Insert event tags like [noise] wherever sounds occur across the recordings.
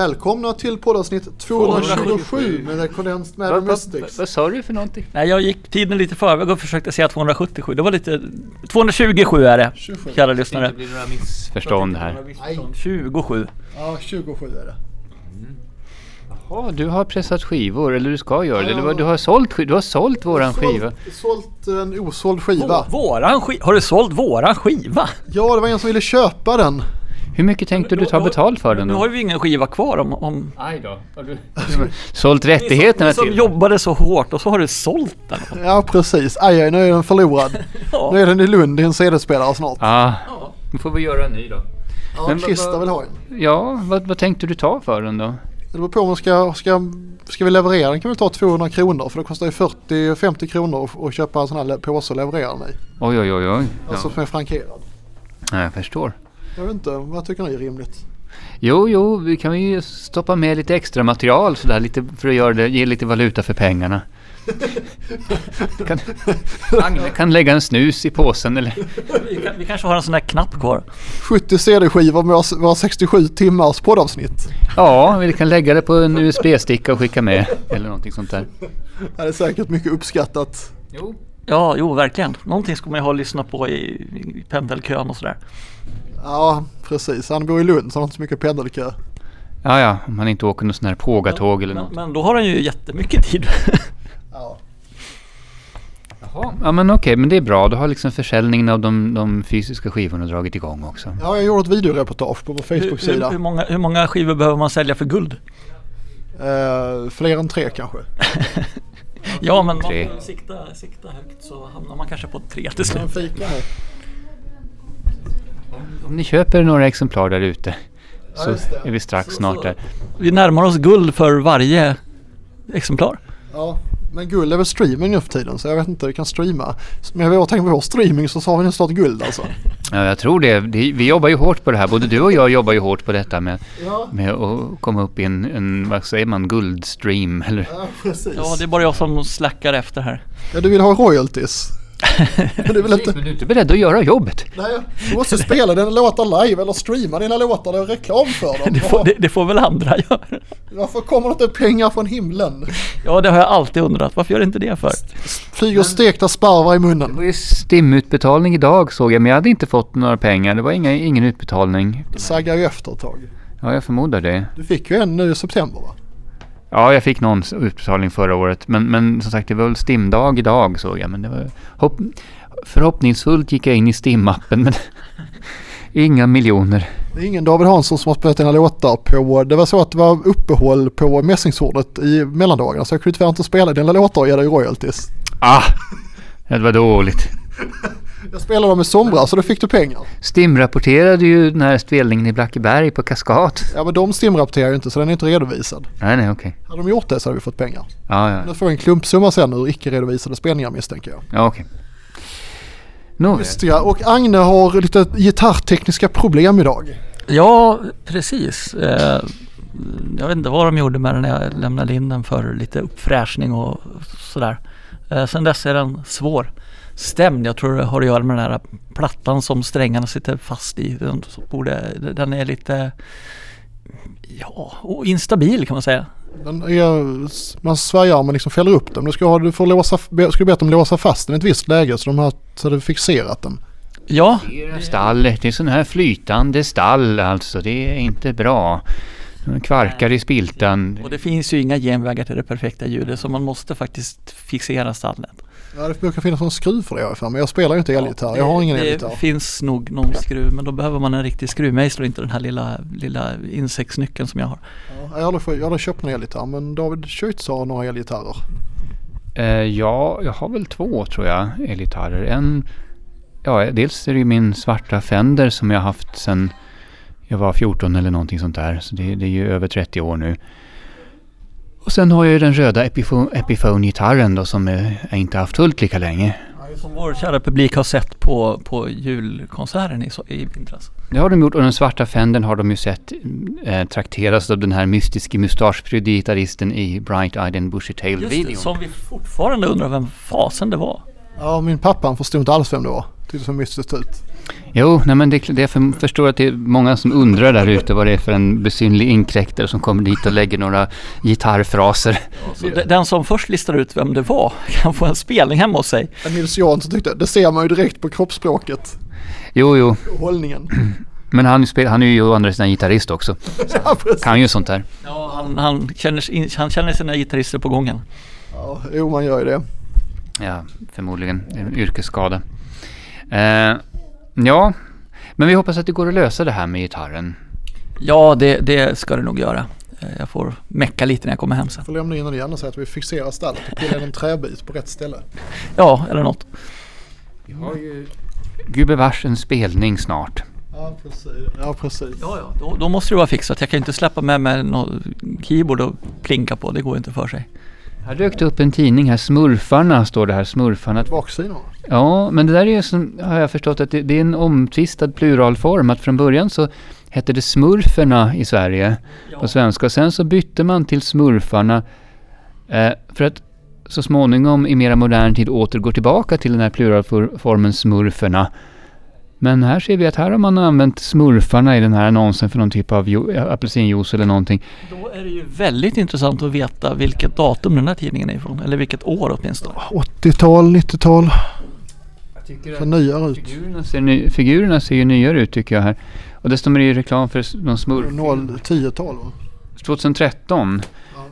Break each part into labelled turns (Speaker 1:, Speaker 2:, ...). Speaker 1: Välkomna till poddavsnitt 227 med rekordenst med
Speaker 2: Vad- vad-
Speaker 1: Mystics.
Speaker 2: Vad sa du för någonting?
Speaker 3: Nej, jag gick tiden lite i förväg och försökte säga 277. Det var lite... 227 är det,
Speaker 1: 27.
Speaker 3: kära
Speaker 2: Det inte
Speaker 3: lyssnare.
Speaker 2: blir några miss-
Speaker 4: Förstånd här.
Speaker 2: några missförstånd.
Speaker 3: 27.
Speaker 1: Ja, 27 är det.
Speaker 4: Ja, du har pressat skivor, eller du ska göra det.
Speaker 1: Ja.
Speaker 4: Du, du har sålt, sk- du har sålt våran skiva.
Speaker 1: Sålt, sålt en osåld skiva.
Speaker 3: Vå- Våran skiva? Har du sålt våran skiva?
Speaker 1: Ja, det var en som ville köpa den.
Speaker 4: Hur mycket tänkte du ta betalt för den
Speaker 3: Nu har
Speaker 4: då?
Speaker 3: vi ju ingen skiva kvar om... om...
Speaker 4: Aj då. Har du... [laughs] Sålt rättigheterna
Speaker 3: Ni som, ni som
Speaker 4: till
Speaker 3: jobbade så hårt och så har du sålt den.
Speaker 1: Ja, precis. Aj, aj, nu är den
Speaker 4: [laughs]
Speaker 1: förlorad. Nu
Speaker 3: Ja.
Speaker 1: är den i Lund i en CD-spelare snart.
Speaker 4: Ja, då får vi göra en ny då.
Speaker 1: Ja,
Speaker 4: men vad-
Speaker 1: Christer
Speaker 4: vad-
Speaker 1: vill ha en.
Speaker 4: Ja, vad, vad tänkte du ta för den då?
Speaker 1: Det beror på om man ska, ska, ska vi leverera den kan vi ta 200 kronor för det kostar ju 40-50 kronor att- att köpa en sån här le- påse och leverera den i.
Speaker 4: Oj, oj, oj, oj. Ja.
Speaker 1: Alltså som är frankerad.
Speaker 4: Ja, jag förstår.
Speaker 1: Jag vet inte, vad tycker ni är rimligt?
Speaker 4: Jo, jo, vi kan ju stoppa med lite extra material sådär, lite för att göra det, ge lite valuta för [laughs] pengarna. kan, Agne kan lägga en snus i påsen eller...
Speaker 3: Vi, kan, vi kanske har en sån där knapp kvar.
Speaker 1: 70 CD-skivor med våra- våra 67 timmars poddavsnitt.
Speaker 4: Ja, vi kan lägga det på en USB-sticka och skicka med eller någonting sånt där.
Speaker 1: Det är säkert mycket uppskattat.
Speaker 4: Jo.
Speaker 3: Ja, jo, verkligen. Någonting ska man ju ha att lyssna på i, i pendelkön och sådär.
Speaker 1: Ja, precis. Han bor i Lund så han har inte så mycket pendelkö.
Speaker 4: Ja, ja, om man inte åker någon sån här pågatåg eller
Speaker 3: Men,
Speaker 4: något.
Speaker 3: men då har han ju jättemycket tid.
Speaker 1: Ja.
Speaker 4: Ja, men okej, men det är bra. Då har liksom försäljningen av de, de fysiska skivorna dragit igång också.
Speaker 1: ja, jag gjorde ett videoreportage på vår
Speaker 3: hur, hur,
Speaker 1: [laughs]
Speaker 3: hur,
Speaker 1: Facebook-sida.
Speaker 3: många, hur många skivor behöver man sälja för guld?
Speaker 1: Eh, fler än tre kanske.
Speaker 3: Ja, men man
Speaker 4: Tre.
Speaker 3: får sikta, sikta högt så hamnar man kanske på tre
Speaker 1: Kan
Speaker 3: till slut.
Speaker 1: fika här?
Speaker 4: Om ni köper några exemplar där ute så
Speaker 1: just det.
Speaker 4: är vi strax snart där.
Speaker 3: Vi närmar oss guld för varje exemplar.
Speaker 1: Ja, men guld är väl streaming nu för tiden så jag vet inte, vi kan streama. Men jag tänker på vår streaming så har vi snart guld alltså.
Speaker 4: Ja, jag tror det. Det- Vi jobbar ju hårt på det här. Både du och jag jobbar ju hårt på detta med,
Speaker 1: Ja,
Speaker 4: med att komma upp i en, en, vad säger man, guldstream eller?
Speaker 1: ja precis.
Speaker 3: Ja, det är bara jag som slackar efter här.
Speaker 1: Ja, du vill ha
Speaker 4: [laughs]
Speaker 1: royalties. Men du vill inte...
Speaker 4: Men du är inte beredd att göra jobbet.
Speaker 1: Nej, du måste spela dina låtar live eller streama dina låtar och reklam för dem.
Speaker 3: [laughs] [laughs] Det får, det, det får väl andra göra.
Speaker 1: Varför kommer det inte pengar från himlen?
Speaker 3: Ja, det har jag alltid undrat. Varför gör inte det för?
Speaker 1: Flyger stekta sparvar i
Speaker 4: Det
Speaker 1: munnen.
Speaker 4: var ju stimutbetalning idag såg jag, men jag hade inte fått några pengar. Det var inga, ingen utbetalning.
Speaker 1: Saggar ju efter ett tag.
Speaker 4: Ja, jag förmodar det.
Speaker 1: Du fick ju en nu i september va?
Speaker 4: Ja, jag fick någon utbetalning förra året. Men, men som sagt, det var väl stimdag idag såg jag. Men det var, hopp, förhoppningsfullt gick jag in i stimappen, men [laughs] inga miljoner.
Speaker 1: Det är ingen David Hansson som har spelat dina låtar på... Det var så att det var uppehåll på mässingshornet i mellandagarna så jag kunde tyvärr inte spela dina låtar och ge dig royalties.
Speaker 4: Ah, det var dåligt.
Speaker 1: Jag spelade dem i somras så då fick du pengar.
Speaker 4: Stim rapporterade ju den här spelningen i Blackeberg på Kaskat.
Speaker 1: Ja men de stimrapporterar ju inte så den är inte redovisad.
Speaker 4: Nej, nej, okej.
Speaker 1: Hade de gjort det så hade vi fått pengar.
Speaker 4: Ja, ja,
Speaker 1: Nu får vi en klumpsumma sen ur icke-redovisade spelningar misstänker jag.
Speaker 4: ja okej. Nåväl.
Speaker 1: Just det, ja. och Agne har lite gitarrtekniska problem idag.
Speaker 3: Ja, precis. Eh, Jag vet inte vad de gjorde med den när jag lämnade in den för lite uppfräschning och sådär. Eh, Sen dess är den svår stämd. Jag tror det har att göra med den här plattan som strängarna sitter fast i. Den, så borde, den är lite ja, och instabil kan man säga.
Speaker 1: Den är, man svajar men liksom fäller upp den. Du ska, ha- du får låsa, be, ska du be att de låsa fast den i ett visst läge så de har så hade fixerat den.
Speaker 3: Ja,
Speaker 4: Stallet, det är sån här flytande stall alltså. Det är inte bra. De Kvarkar i spiltan.
Speaker 3: och det finns ju inga genvägar till det perfekta ljudet så man måste faktiskt fixera stallet.
Speaker 1: Ja, det brukar finnas någon skruv för det jag har för mig. Jag spelar ju inte elgitarr. Jag har ingen
Speaker 3: det,
Speaker 1: elgitarr.
Speaker 3: det finns nog någon skruv men då behöver man en riktig skruvmejsel och inte den här lilla, lilla insektsnyckeln som jag har.
Speaker 1: Ja, jag har aldrig, jag har aldrig köpt någon elgitarr men David Schütz har några elgitarrer.
Speaker 4: Eh, ja, jag har väl två tror jag elgitarrer. En, ja, dels är det ju min svarta Fender som jag har haft sedan jag var 14 eller någonting sånt där. Så det, det är ju över 30 år nu. Och sen har jag ju den röda Epifo- Epiphone-gitarren då som eh, jag inte haft fullt lika länge.
Speaker 3: Som vår kära publik har sett på, på julkonserten i, so- i vintras.
Speaker 4: Det har de gjort och den svarta fänden har de ju sett eh, trakteras av den här mystiske mustaschprydde gitarristen i Bright Eyed and Bushy Tailed
Speaker 3: Just det,
Speaker 4: videon.
Speaker 3: som vi fortfarande undrar vem fasen det var.
Speaker 1: Ja, min pappa han förstod inte alls vem det var. Tyckte det såg mystiskt ut.
Speaker 4: Jo, nej men det, det, jag för- förstår att det är många som undrar där ute vad det är för en besynlig inkräktare som kommer dit och lägger några gitarrfraser.
Speaker 3: Så de- den som först listar ut vem det var [laughs] kan få en spelning hemma hos sig.
Speaker 1: Nils Jansson tyckte, det ser man ju direkt på kroppsspråket,
Speaker 4: Jo, jo,
Speaker 3: [clears throat]
Speaker 1: hållningen.
Speaker 4: men han, spel, han är ju å andra sidan gitarrist också.
Speaker 1: Ja, precis.
Speaker 4: Kan ju sånt där.
Speaker 3: Ja, han, han, känner, sin- han känner sina gitarrister på gången.
Speaker 1: Ja, jo, man gör ju det.
Speaker 4: Ja, förmodligen en yrkesskada. Eh, ja, men vi hoppas att det går att lösa det här med gitarren.
Speaker 3: Ja, det, det ska det nog göra. Eh, Jag får mecka lite när jag kommer hem sen.
Speaker 1: Får lämna in den igen och säga att vi fixerar stallet och pillar in en träbit på rätt ställe.
Speaker 3: Ja, eller något.
Speaker 4: Vi har ju gubevars en spelning snart.
Speaker 1: Ja, precis. Ja, precis.
Speaker 3: Ja, ja. Då, då måste det vara fixat. Jag kan ju inte släppa med mig någon keyboard och plinka på. Det går ju inte för sig.
Speaker 4: Här dök det upp en tidning här, Smurfarna står det här, Smurfarna.
Speaker 1: Baksidan va?
Speaker 4: Ja, men det där är ju som, har jag förstått, att det, det är en omtvistad pluralform. Att från början så hette det Smurferna i Sverige, på svenska. Och sen så bytte man till Smurfarna eh, för att så småningom i mera modern tid återgå tillbaka till den här pluralformen Smurferna. Men här ser vi att här har man använt Smurfarna i den här annonsen för någon typ av ju, apelsinjuice eller någonting.
Speaker 3: Då är det ju väldigt intressant att veta vilket datum den här tidningen är ifrån. Eller vilket år åtminstone.
Speaker 1: 80-tal, 90-tal. Ser nyare ut.
Speaker 4: Figurerna ser, ny, figurerna ser ju nyare ut tycker jag här. Och dessutom är det ju reklam för s- någon smurf.
Speaker 1: 0-10-tal va?
Speaker 4: 2013.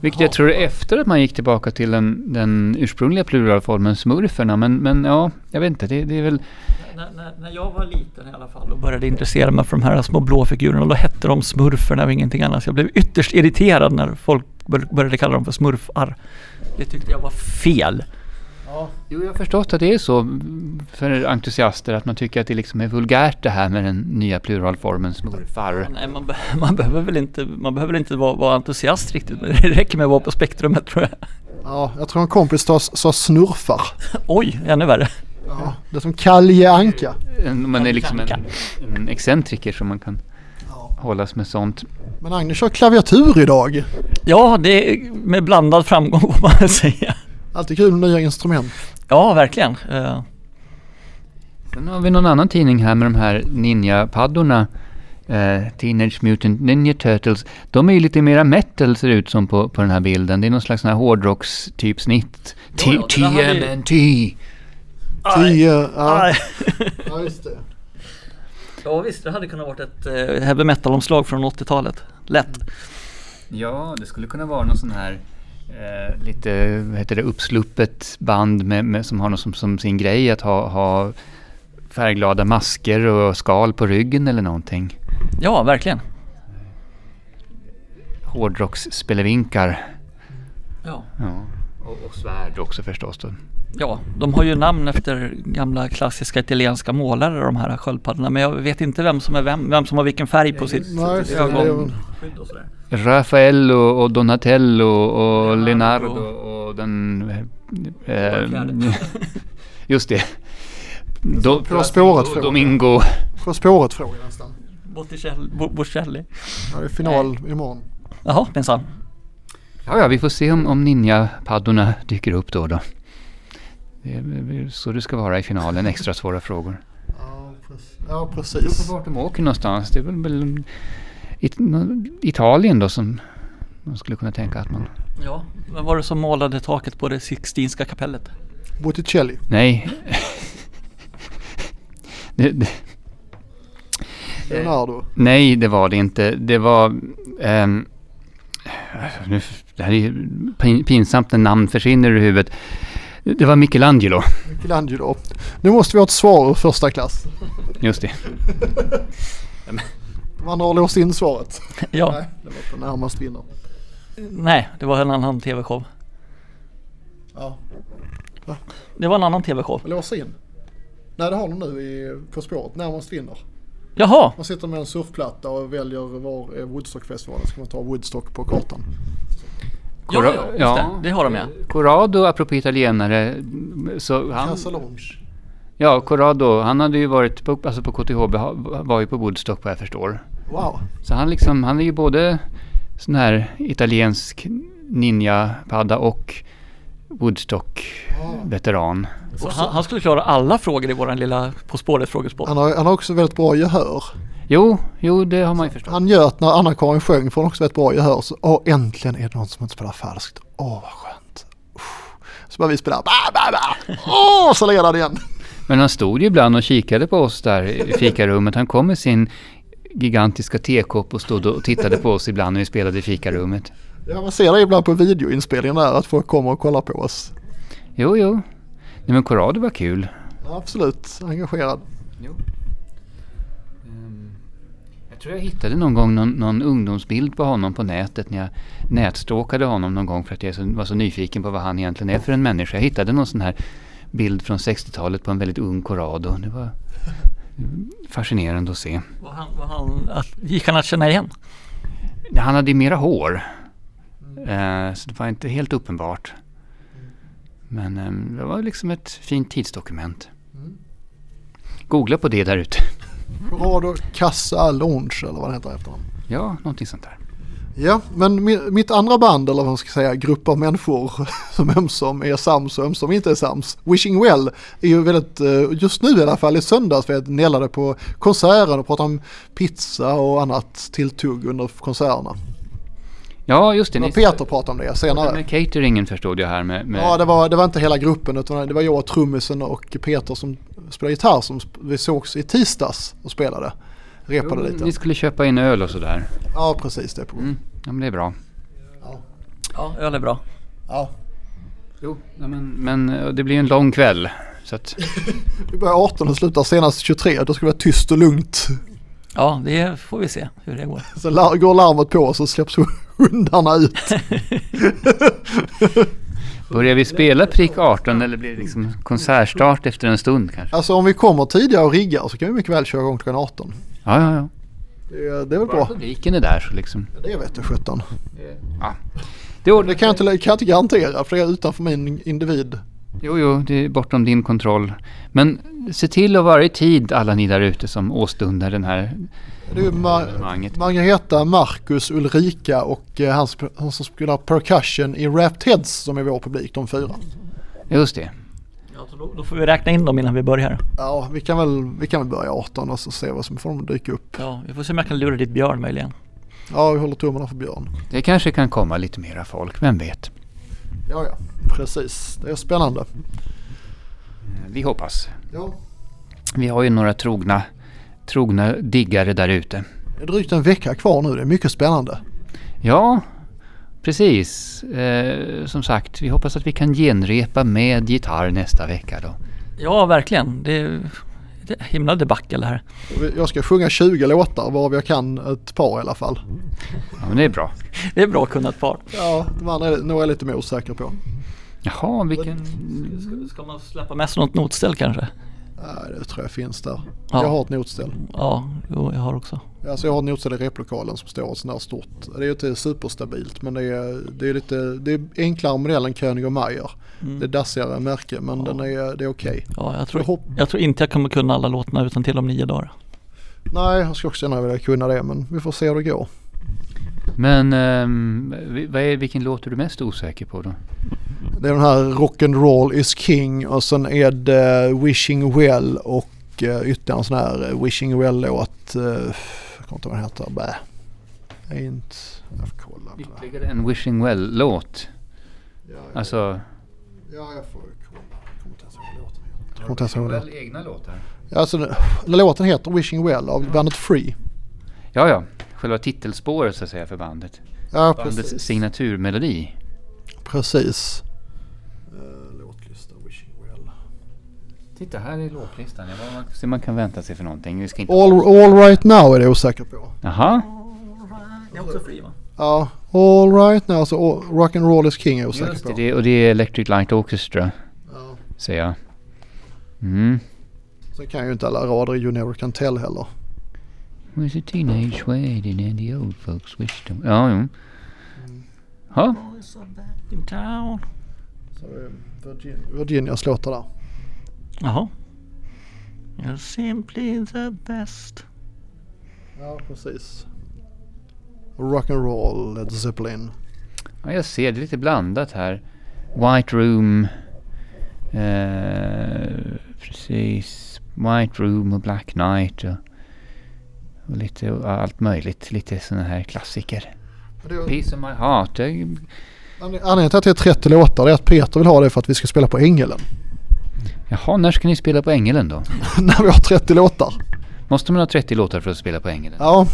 Speaker 4: Vilket jag tror är efter att man gick tillbaka till den, den ursprungliga pluralformen smurferna. Men, men ja, jag vet inte. Det, det är väl...
Speaker 3: När, när, när jag var liten i alla fall och började intressera mig för de här små blå figurerna, då hette de smurferna och ingenting annat. Jag blev ytterst irriterad när folk bör- började kalla dem för smurfar. Det tyckte jag var fel.
Speaker 4: Jo, jag har förstått att det är så för entusiaster att man tycker att det liksom är vulgärt det här med den nya pluralformen smurfar.
Speaker 3: Nej, man, be- [laughs] man behöver väl inte, man behöver väl inte vara, vara entusiast riktigt, men det räcker med att vara på spektrumet tror jag. [laughs]
Speaker 1: Ja, jag tror en kompis sa, sa snurfar.
Speaker 3: Oj, ännu värre.
Speaker 1: Ja. Det är som Kalje Anka.
Speaker 4: En- Man är liksom en, en excentriker som man kan hållas med sånt.
Speaker 1: Men Agnes kör klaviatur idag.
Speaker 3: Ja, det är med blandad framgång [laughs] får man väl säga.
Speaker 1: Alltid kul med nya instrument.
Speaker 3: Ja, verkligen. Eh,
Speaker 4: Sen har vi någon annan tidning här med de här ninja-paddorna. Eh, Teenage Mutant Ninja Turtles. De är ju lite mera metal ser det ut som på, på den här bilden. Det är någon slags sån här hårdrockstyp snitt. T-
Speaker 3: Ja, ja, det där hade ju-
Speaker 4: TMNT!
Speaker 1: Tio, ja.
Speaker 3: aj.
Speaker 1: ja, [laughs] just det.
Speaker 3: [laughs] Ja visst, det hade kunnat vara ett eh, heavy metal-omslag från 80-talet. Lätt.
Speaker 4: Ja, det skulle kunna vara någon sån här eh, lite, vad heter det, uppsluppet band med, med, som har något som, som sin grej att ha, ha färgglada masker och skal på ryggen eller någonting.
Speaker 3: Ja, verkligen.
Speaker 4: Hårdrocksspelevinkar.
Speaker 3: Ja.
Speaker 4: Ja. Och, och svärd också förstås då.
Speaker 3: Ja, de har ju namn efter gamla klassiska italienska målare de här sköldpaddorna. Men jag vet inte vem som är vem, vem som har vilken färg på sitt
Speaker 1: Nej,
Speaker 3: sitt
Speaker 1: det är väl-
Speaker 3: ögonskydd och sådär.
Speaker 4: Raffaello och Donatello och
Speaker 3: Leonardo.
Speaker 4: Leonardo och den... Eh, [laughs]
Speaker 3: fjärde.
Speaker 4: just det. Do,
Speaker 1: Bra spåret fråga.
Speaker 4: Domingo.
Speaker 1: På spåret fråga nästan.
Speaker 3: Botticelli. Bo- Bocelli.
Speaker 1: Ja, det är final imorgon.
Speaker 3: Jaha, minsann.
Speaker 4: Ja, ja, vi får se om, om ninja-paddorna dyker upp då och då. Det är väl så det ska vara i finalen, extra svåra frågor.
Speaker 1: Ja, precis. Ja,
Speaker 4: Det beror
Speaker 1: precis.
Speaker 4: på vart de åker någonstans. Det är väl, väl it, nå- Italien då som man skulle kunna tänka att man...
Speaker 3: Ja, vem var det som målade taket på det Sixtinska kapellet? [laughs]
Speaker 1: Botticelli.
Speaker 4: Nej. [laughs] det, det,
Speaker 3: Eh.
Speaker 1: Leonardo.
Speaker 4: Nej, det var det inte. Det var... ehm, nu, det här är ju pin- pinsamt när namn försvinner ur huvudet. Det var Michelangelo,
Speaker 1: Michelangelo. Nu måste vi ha ett svar ur första klass.
Speaker 4: just det.
Speaker 1: De andra har låst in svaret.
Speaker 3: Ja,
Speaker 1: Nej, det var på närmast vinner.
Speaker 3: nej, det var en annan tv-show.
Speaker 1: Ja.
Speaker 3: Det var en annan tv-show.
Speaker 1: Låsa in? Nej, det har de nu i På spåret. Närmast vinner.
Speaker 3: Jaha,
Speaker 1: Man sitter med en surfplatta och väljer var är Woodstockfestivalen. Ska man ta Woodstock på kartan?
Speaker 3: ja, ja, just det. det har de ja.
Speaker 4: Corrado, apropå italienare, så han...
Speaker 1: Casalonge.
Speaker 4: Ja, Corrado, han hade ju varit på, alltså på KTH, var ju på Woodstock vad jag förstår.
Speaker 1: Wow.
Speaker 4: Så han liksom, han är ju både sån här italiensk ninja-padda och Woodstock-veteran.
Speaker 3: Så han, han skulle klara alla frågor i våran lilla På spåret frågesport.
Speaker 1: Han har, han har också väldigt bra gehör.
Speaker 4: Jo, jo, det har man ju förstått.
Speaker 1: Han njöt när Anna-Karin sjöng för hon har också ett bra gehör. Så, åh, äntligen är det någon som inte spelar falskt. Åh, vad skönt. Uff. Så började vi spela. Ba, ba, ba. Åh, så leder han igen.
Speaker 4: Men han stod ju ibland och kikade på oss där i fikarummet. Han kom med sin gigantiska tekopp och stod och tittade på oss ibland när vi spelade i fikarummet.
Speaker 1: Ja, man ser det ibland på videoinspelningen där att folk kommer och kollar på oss.
Speaker 4: Jo, jo. Nej men Corrado var kul.
Speaker 1: Absolut engagerad.
Speaker 4: Jag tror jag hittade någon gång någon, någon ungdomsbild på honom på nätet när jag nätstalkade honom någon gång för att jag så, var så nyfiken på vad han egentligen är för en människa. Jag hittade någon sån här bild från 60-talet på en väldigt ung Corrado. Det var fascinerande att se.
Speaker 3: Var han, var han, att, gick han att känna igen?
Speaker 4: Han hade ju mera hår. Eh, Så det var inte helt uppenbart. Men eh, det var liksom ett fint tidsdokument.
Speaker 1: Mm.
Speaker 4: Googla på det där ute. [laughs]
Speaker 1: Radio Kassa Lounge eller vad det heter efter honom.
Speaker 4: Ja, någonting sånt där.
Speaker 1: Ja, men mi- mitt andra band eller vad man ska säga, grupp av människor [laughs] som ömsom är sams och ömsom inte är sams, Wishing Well, är ju väldigt, eh, just nu i alla fall i söndags, vi nällade på konserten och pratade om pizza och annat tilltugg under konserterna.
Speaker 4: Ja, just det.
Speaker 1: Men
Speaker 4: Ni
Speaker 1: Peter pratade om det
Speaker 4: pratade
Speaker 1: senare.
Speaker 4: med cateringen förstod jag här med... med
Speaker 1: Ja, det var, det var inte hela gruppen utan det var jag, trummisen och Peter som spelade gitarr som sp- vi sågs i tisdags och spelade. Repade
Speaker 4: Jo, Ni
Speaker 1: lite.
Speaker 4: skulle köpa in öl och sådär.
Speaker 1: Ja, precis det. är På. gång.
Speaker 4: Mm. Ja, men det är bra.
Speaker 3: Ja, öl är bra.
Speaker 1: Ja.
Speaker 4: Jo, ja, men, men eh, det blir ju en lång kväll. Så att,
Speaker 1: Vi börjar 18 och slutar senast 23, då ska det vara tyst och lugnt.
Speaker 3: Ja, det får vi se hur det går.
Speaker 1: Sen lar- går larmet på och så släpps [laughs] hundarna ut.
Speaker 4: börjar vi spela prick 18 eller blir det liksom konsertstart efter en stund kanske?
Speaker 1: Alltså om vi kommer tidigare och riggar så kan vi mycket väl köra igång klockan 18.
Speaker 4: Ja, ja, ja.
Speaker 1: Det är, det är väl
Speaker 4: Bara
Speaker 1: bra.
Speaker 4: publiken är där så liksom.
Speaker 1: Det vet du sjutton.
Speaker 4: Ja. Det ordnar
Speaker 1: Det kan jag, inte, kan jag inte garantera för det är utanför min individ.
Speaker 4: Jo, jo, det är bortom din kontroll. Men se till att vara i tid alla ni där ute som åstundar den här
Speaker 1: Det är ju Ma-
Speaker 4: evenemanget.
Speaker 1: Margareta, Marcus, Ulrika och eh, han, sp- han som spelar percussion i Wrapped Heads som är vår publik, de fyra.
Speaker 4: Just det.
Speaker 3: Ja, så då, då får vi räkna in dem innan vi börjar.
Speaker 1: Ja, vi kan väl, vi kan väl börja 18 och så se vad som får de dyka upp.
Speaker 3: Ja, vi får se om jag kan lura dit Björn möjligen.
Speaker 1: Ja, vi håller tummarna för Björn.
Speaker 4: Det kanske kan komma lite mera folk, vem vet?
Speaker 1: Ja, ja, precis. Det är spännande.
Speaker 4: Vi hoppas.
Speaker 1: Ja.
Speaker 4: Vi har ju några trogna, trogna diggare där ute.
Speaker 1: Det är drygt en vecka kvar nu, det är mycket spännande.
Speaker 4: Ja, precis. Eh, som sagt, vi hoppas att vi kan genrepa med gitarr nästa vecka då.
Speaker 3: Ja, verkligen. Det är, det är himla debacle det här.
Speaker 1: Jag ska sjunga 20 låtar varav jag kan ett par i alla fall.
Speaker 4: Ja, men det är bra.
Speaker 3: Det är bra kunnat par.
Speaker 1: Ja, de andra är, några är jag lite mer osäker på.
Speaker 4: Jaha, vilken...
Speaker 3: Ska, ska man släppa med sig något notställ kanske?
Speaker 1: Nej, det tror jag finns där.
Speaker 3: Ja.
Speaker 1: Jag har ett notställ.
Speaker 3: Ja, jo, jag har också.
Speaker 1: Alltså jag har ett notställ i replokalen som står ett sånt här stort. Det är ju inte superstabilt men det är, det är lite det är enklare modell än König och Mayer.
Speaker 4: Mm.
Speaker 1: Det är dassigare märke men den är, det är okej.
Speaker 3: Mm. Ja, jag,
Speaker 1: Jag
Speaker 3: tror,
Speaker 1: hopp-
Speaker 3: jag tror inte jag kommer kunna alla låtarna utan till om nio dagar.
Speaker 1: Nej, jag skulle också gärna vilja kunna det men vi får se hur det går.
Speaker 4: Men ehm, vi- vad är, vilken låt är du mest osäker på då?
Speaker 1: Det är den här Rock'n'Roll is King och sen är det Wishing Well och eh, ytterligare en sån här eh, Wishing Well-låt. eh, Jag kommer inte ihåg vad den heter. Bä. Jag är inte... Jag får kolla på det.
Speaker 4: Ytterligare en Wishing Well-låt.
Speaker 1: Ja, jag-
Speaker 4: Alltså...
Speaker 1: ja, jag får kolla. Jag kommer inte ens ihåg vad låten heter. Jag kommer inte ens ihåg vad låten.
Speaker 4: egna låtar?
Speaker 1: Alltså, den- låten heter Wishing Well av bandet Free.
Speaker 4: Ja, ja. Själva titelspåret så att säga för bandet.
Speaker 1: Ja,
Speaker 4: Bandets
Speaker 1: precis.
Speaker 4: signaturmelodi.
Speaker 1: Precis. Eh, Låtlista Wishing Well.
Speaker 4: Titta, här är låtlistan. Jag bara, se man kan vänta sig för någonting. Vi ska inte...
Speaker 1: All, all Right Now är det jag osäker på.
Speaker 4: Jaha.
Speaker 3: Det är också fri va?
Speaker 1: Ja, All Right Now, alltså, så all- Rock'n'Roll is King är jag osäker
Speaker 4: Just
Speaker 1: på.
Speaker 4: det, det, och det är Electric Light Orchestra,
Speaker 1: Ja.
Speaker 4: säger jag. Mm.
Speaker 1: Sen kan jag ju inte alla rader i You Never Can Tell heller.
Speaker 4: Was a teenage wedding and the old folks wished them... Ja, jo.
Speaker 1: Mm.
Speaker 4: Ja,
Speaker 1: Så det är Virgin- Virginias låtar där.
Speaker 3: Jaha. You're simply the best.
Speaker 1: Ja, precis. Rock'n'roll, Led Zeppelin.
Speaker 4: Ja, jag ser. Det är lite blandat här. White Room. Eh, precis. White Room och Black Knight. Och, och lite och allt möjligt. Lite sådana här klassiker.
Speaker 1: Det är-
Speaker 4: Peace of My Heart. Det,
Speaker 1: Anledningen till att det är 30 låtar är att Peter vill ha det för att vi ska spela på Ängelen.
Speaker 4: jaha, när ska ni spela på Ängelen då?
Speaker 1: [laughs] När vi har 30 låtar.
Speaker 4: Måste man ha 30 låtar för att spela på Ängelen?
Speaker 1: Ja,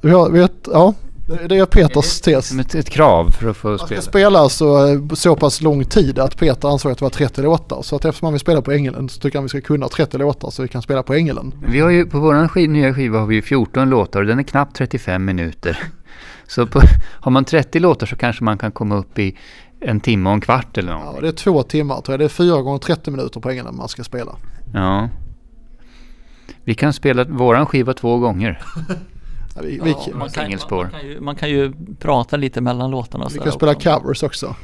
Speaker 1: vi har, vi har, ett- ja det det är Peters tes.
Speaker 4: Som ett, ett krav för att få
Speaker 1: Man ska
Speaker 4: spela.
Speaker 1: spela så, eh, så pass lång tid att Peter ansåg att det var 30 låtar. Så att eftersom han vill spela på Ängelen så tycker han vi ska kunna 30 låtar så vi kan spela på Ängelen.
Speaker 4: Vi har ju, på vår skiv, nya skiva har vi ju 14 låtar och den är knappt
Speaker 1: [laughs]
Speaker 4: 35 minuter. Så på, har man 30 låtar så kanske man kan komma upp i en timme och en kvart eller
Speaker 1: Ja,
Speaker 4: något.
Speaker 1: det är två timmar tror jag. Det är fyra gånger 30 minuter på Ängelen man ska spela.
Speaker 4: Ja. Vi kan spela våran skiva två gånger.
Speaker 1: Ja, Vi, vi,
Speaker 3: Ja,
Speaker 1: vi
Speaker 3: man, kan,
Speaker 4: singelspår.
Speaker 3: man, kan ju, man kan ju prata lite mellan låtarna och
Speaker 1: kan
Speaker 3: sådär
Speaker 1: spela
Speaker 3: också.
Speaker 1: covers också.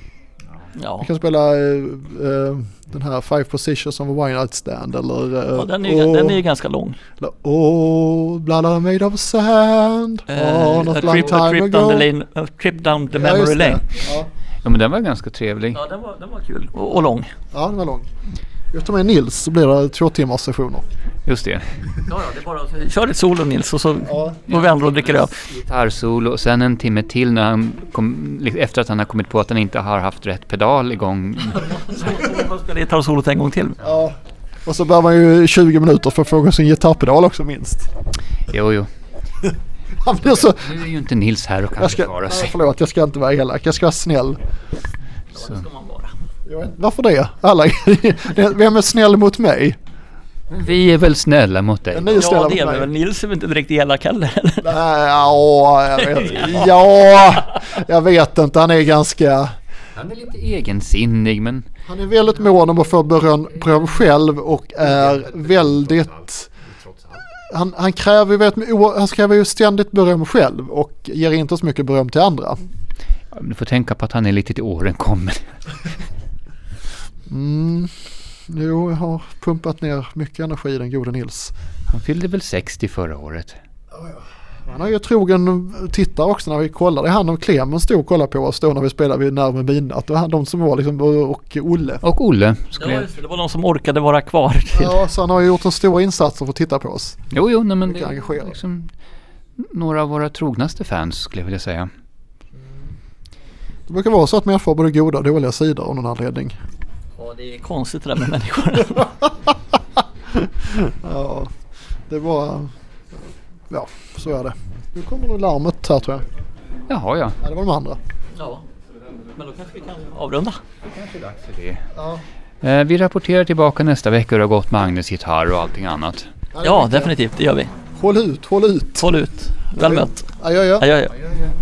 Speaker 3: Ja.
Speaker 1: Vi kan spela eh, eh, den här Five Positions of a Wine Night Stand eller... eh,
Speaker 3: ja, den är ju
Speaker 1: Åh,
Speaker 3: den är ju ganska lång.
Speaker 1: eller, Åh, bland annat made of sand.
Speaker 3: Eh,
Speaker 1: Åh,
Speaker 3: a
Speaker 1: något long
Speaker 3: trip, a
Speaker 1: time
Speaker 3: trip
Speaker 1: ago.
Speaker 3: down the, lane, a trip down the
Speaker 1: Ja, just
Speaker 3: memory
Speaker 1: det.
Speaker 3: lane.
Speaker 1: Ja.
Speaker 4: Ja men den var ganska trevlig.
Speaker 3: Ja, den var, den var kul och, och lång.
Speaker 1: Ja, den var lång. Jag tar med Nils så blir det två timmars sessioner.
Speaker 4: Just det.
Speaker 3: Ja, ja, det är bara, kör ett solo Nils och så
Speaker 1: Ja.
Speaker 3: går vi andra och dricker öl.
Speaker 4: Gitarrsolo och sen en timme till när han kom, li- efter att han har kommit på att han inte har haft rätt
Speaker 1: [laughs]
Speaker 4: pedal igång.
Speaker 3: Så får man spela gitarrsolot en gång till.
Speaker 1: ja. Och så behöver man ju 20 minuter för att fråga sin gitarrpedal också [laughs] minst.
Speaker 4: Jo, jo.
Speaker 1: Han blir så...
Speaker 4: Nu är ju inte Nils här och kan
Speaker 1: Jag ska,
Speaker 4: försvara
Speaker 1: nej,
Speaker 4: sig.
Speaker 1: förlåt, jag ska inte vara elak. Jag ska vara snäll.
Speaker 4: Så.
Speaker 3: Ska man vara.
Speaker 1: Jag vet, varför det? Alla, [laughs] vem är snäll mot mig?
Speaker 4: Vi är väl snälla mot dig?
Speaker 1: En ny snälla
Speaker 3: Ja,
Speaker 1: mot
Speaker 3: det är
Speaker 1: mig.
Speaker 3: väl. Nils är väl inte direkt elak heller.
Speaker 1: Nej, ja, jag
Speaker 3: [laughs]
Speaker 1: vet, ja, jag vet inte. Han är ganska...
Speaker 4: Han är lite egensinnig men...
Speaker 1: Han är väldigt mån om att få beröm, beröm själv och är väldigt... Han, han, kräver ju väldigt, o- han kräver ju ständigt beröm själv och ger inte så mycket beröm till andra.
Speaker 4: Ja, men Du får tänka på att han är lite till åren kommen.
Speaker 1: Mm. Jo, jag har pumpat ner mycket energi i den gode Nils.
Speaker 4: Han fyllde väl 60 förra året.
Speaker 1: Han har ju trogen tittare också när vi kollar. Det är han och Clemens stod och kollade på oss då när vi spelade vid Närmare midnatt. Det var han, de som var liksom och Olle.
Speaker 4: Och Olle skulle
Speaker 3: Ja,
Speaker 4: jag...
Speaker 3: just det. Det var de som orkade vara kvar. Till.
Speaker 1: Ja, så han har ju gjort en stor insats för att titta på oss.
Speaker 4: Jo, jo, nej, men det
Speaker 1: Mycket engagerad.
Speaker 4: är liksom några av våra trognaste fans skulle jag vilja säga.
Speaker 1: Det brukar vara så att människor har både goda och dåliga sidor av någon anledning.
Speaker 3: Ja, det är konstigt det där med människor.
Speaker 1: Ja, det var... Ja, så är det. Nu kommer nog larmet här tror jag.
Speaker 4: Jaha, ja.
Speaker 1: Ja, det var de andra.
Speaker 3: Ja. Men då kanske vi kan avrunda.
Speaker 1: Ja,
Speaker 4: Eh, Vi rapporterar tillbaka nästa vecka hur det har gått med Agnes gitarr och allting annat.
Speaker 1: det
Speaker 3: Ja,
Speaker 1: tycker jag.
Speaker 3: definitivt. Det gör vi.
Speaker 1: Håll ut, håll ut.
Speaker 3: Håll ut. Väl mött.
Speaker 1: Adjö, adjö.
Speaker 3: Adjö.
Speaker 4: Ja, ja.